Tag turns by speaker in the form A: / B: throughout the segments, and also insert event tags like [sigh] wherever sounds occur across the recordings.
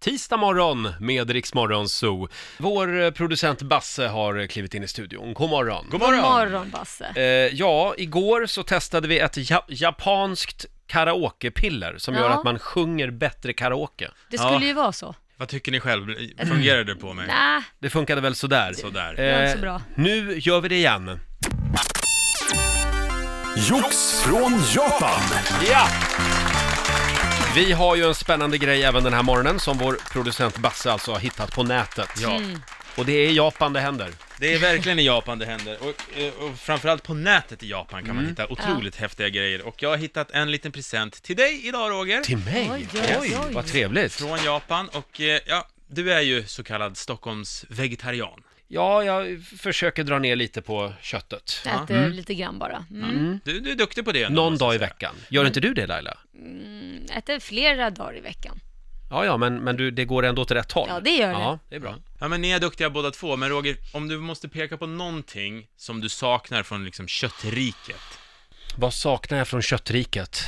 A: tisdag morgon med Rix Morgon Zoo. Vår eh, producent Basse har eh, klivit in i studion. God morgon!
B: God
C: God
B: morgon!
C: morgon Basse.
A: Eh, ja, igår så testade vi ett ja- japanskt karaokepiller som gör
C: Ja.
A: att man sjunger bättre karaoke.
C: Det
B: Ja.
C: skulle ju vara så.
B: Vad tycker ni själv? Fungerar det på mig?
C: Nä,
A: Det funkade väl sådär. Eh,
B: Sådär.
C: det var inte så bra.
A: nu gör vi det igen.
D: Jox från Japan!
A: Ja! Vi har ju en spännande grej även den här morgonen som vår producent Basse alltså har hittat på nätet.
B: Ja,
C: Mm.
A: Och det är i Japan det händer.
B: det är verkligen i Japan det händer. Och, eh, och framförallt på nätet i Japan kan man
A: Mm.
B: hitta otroligt häftiga grejer. Och jag har hittat en liten present till dig idag Roger.
A: Till mig?
C: Oj, oj, oj.
A: vad trevligt.
B: Från Japan och eh, ja, du är ju så kallad Stockholms vegetarian.
A: Ja, jag försöker dra ner lite på köttet.
C: Jag äter lite grann bara. Mm.
B: Du, du är duktig på det ändå,
A: Någon
B: måste jag
A: dag i
B: säga.
A: veckan. Gör inte du det Laila?
C: Äter flera dagar i veckan.
A: Ja, ja, men, men du, det går ändå åt rätt håll.
C: Ja, det gör det.
A: Ja, det är bra.
B: Ja men ni är duktiga båda två, men Roger, om du måste peka på någonting som du saknar från liksom köttriket.
A: Vad saknar jag från köttriket?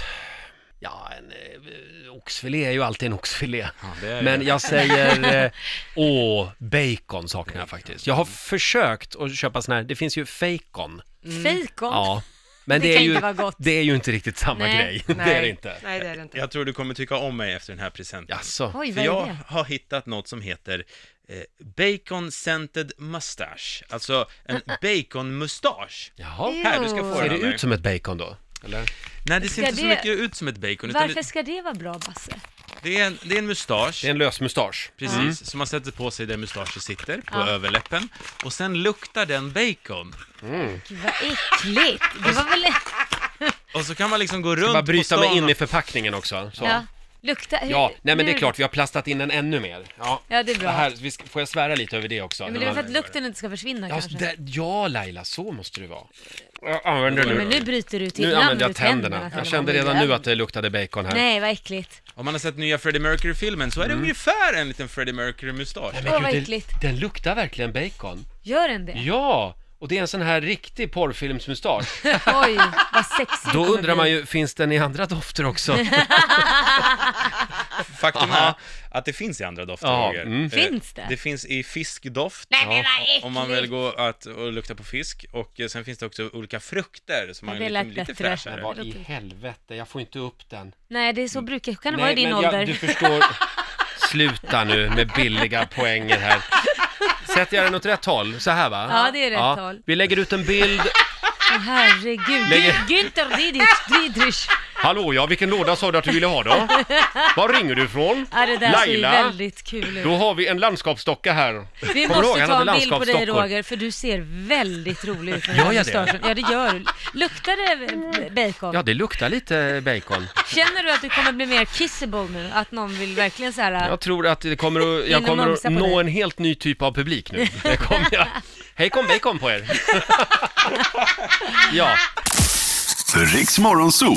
A: Ja, en eh, oxfilé är ju alltid en oxfilé.
B: det är
A: Men jag
C: [laughs]
A: säger, eh, åh, bacon saknar jag faktiskt. Jag har försökt att köpa sån här, det finns ju fejkon.
B: Mm.
C: Fejkon?
A: Ja. Men
C: Det
A: det, är
C: kan
A: ju,
C: inte vara gott.
A: det är ju inte riktigt samma
C: Nej.
A: grej. [laughs] Det är det inte.
E: Nej, det är det inte.
B: Jag tror du kommer tycka om mig efter den här presenten.
A: Jaså?
C: Oj,
B: För
C: vad är
B: jag
C: det?
B: har hittat något som heter eh, Bacon Scented Mustache, alltså en
C: Ah,
B: baconmustasch.
A: Jaha.
B: Här, du ska få
C: Ew.
A: Ser
B: den
A: det
B: av mig.
A: ut som ett bacon då? Eller?
B: Nej, det ser
C: Ska
B: inte så
C: det-
B: mycket ut som ett bacon, utan
C: Varför
B: det,
C: ska det vara bra Basse?
B: det, är en, det är en mustasch,
A: Det Mm. är en lös mustasch.
B: precis, som man sätter på sig där mustaschen sitter, på
C: Ja.
B: överläppen, och sen luktar den bacon.
C: Gud vad äckligt. Det var väl...
B: Och så kan man liksom gå
A: Bara
B: runt på
A: bryta mig
B: stan
A: in i
B: och...
A: förpackningen också. Så.
C: Ja. Lukta... hur-
A: Ja, nej men det är
C: hur-
A: klart, vi har plastat in den ännu mer. Ja,
C: Ja, det är bra.
A: Här, vi ska, får jag svära lite över det också?
C: Ja, men det är väl för att lukten inte ska försvinna
A: Ja,
C: kanske.
A: där, ja Laila, så måste det vara. Jag använder
C: Men
A: nu.
C: nu bryter du till
A: Nu
C: ibland
A: använder jag
C: med
A: tänderna.
C: till
A: Jag
C: och
A: kände
C: med.
A: redan nu att det luktade bacon här.
C: Nej, vad äckligt.
B: Om man har sett nya Freddie Mercury-filmen så är det
A: Mm.
B: ungefär en liten Freddie Mercury-mustasch.
A: Men
C: Åh, vad
A: gud, den,
C: äckligt.
A: den luktar verkligen bacon.
C: Gör den det?
A: Ja, och det är en sån här riktig
C: [laughs]
A: porrfilmsmustasch.
C: Oj, vad sexigt det
A: Då
C: kommer
A: undrar
C: bli.
A: man ju, finns den i andra dofter
C: [laughs]
A: också?
B: Faktum är att det finns i andra dofter,
A: Ja,
B: Roger.
A: mm.
B: Eh,
C: Finns det?
B: Det finns i fiskdoft.
C: Nej, men vad äckligt.
B: Om man vill gå att, och lukta på fisk och eh, sen finns det också olika frukter som
C: Ja,
B: man
C: det
B: är
C: lät
B: lite, lite
C: bättre.
A: Men
B: fräschare.
A: vad i helvete, jag får inte upp den.
C: Nej, det är så brukar kan det vara i din
A: men jag-
C: ålder.
A: du
C: [laughs]
A: förstår. Sluta nu med billiga poänger här. Sätter jag den åt rätt håll? Så här va?
C: Ja, det är rätt håll.
A: Vi lägger ut en bild.
C: Åh, herregud.
A: Lägger-
C: Gü- Günther Didrich, Didrich.
A: Hallå ja, vilken låda sa du att du ville ha då? Var ringer du ifrån?
C: [laughs] Ja, det där ser ju
A: Laila?
C: väldigt kul ut.
A: Då har vi en landskapsdocka här.
C: Vi
A: Kommer du ihåg?
C: måste
A: Han
C: ta
A: hade
C: en bild på dig
A: landskapsdockor.
C: Roger, för du ser väldigt rolig ut med
A: Gör
C: den
A: jag
C: här
A: det?
C: mustaschen. Ja, det gör du. Luktar det eh, bacon?
A: Ja, det luktar lite bacon.
C: Känner du att du kommer bli mer kissable nu? Att någon vill verkligen så här...
A: Jag tror att det kommer att,
C: In
A: jag
C: och
A: kommer att
C: mumsa på dig.
A: nå en helt ny typ av publik nu. Det kommer
C: [laughs]
A: jag. Hej kom bacon på er! [laughs] ja,
D: Riks Morgonzoo.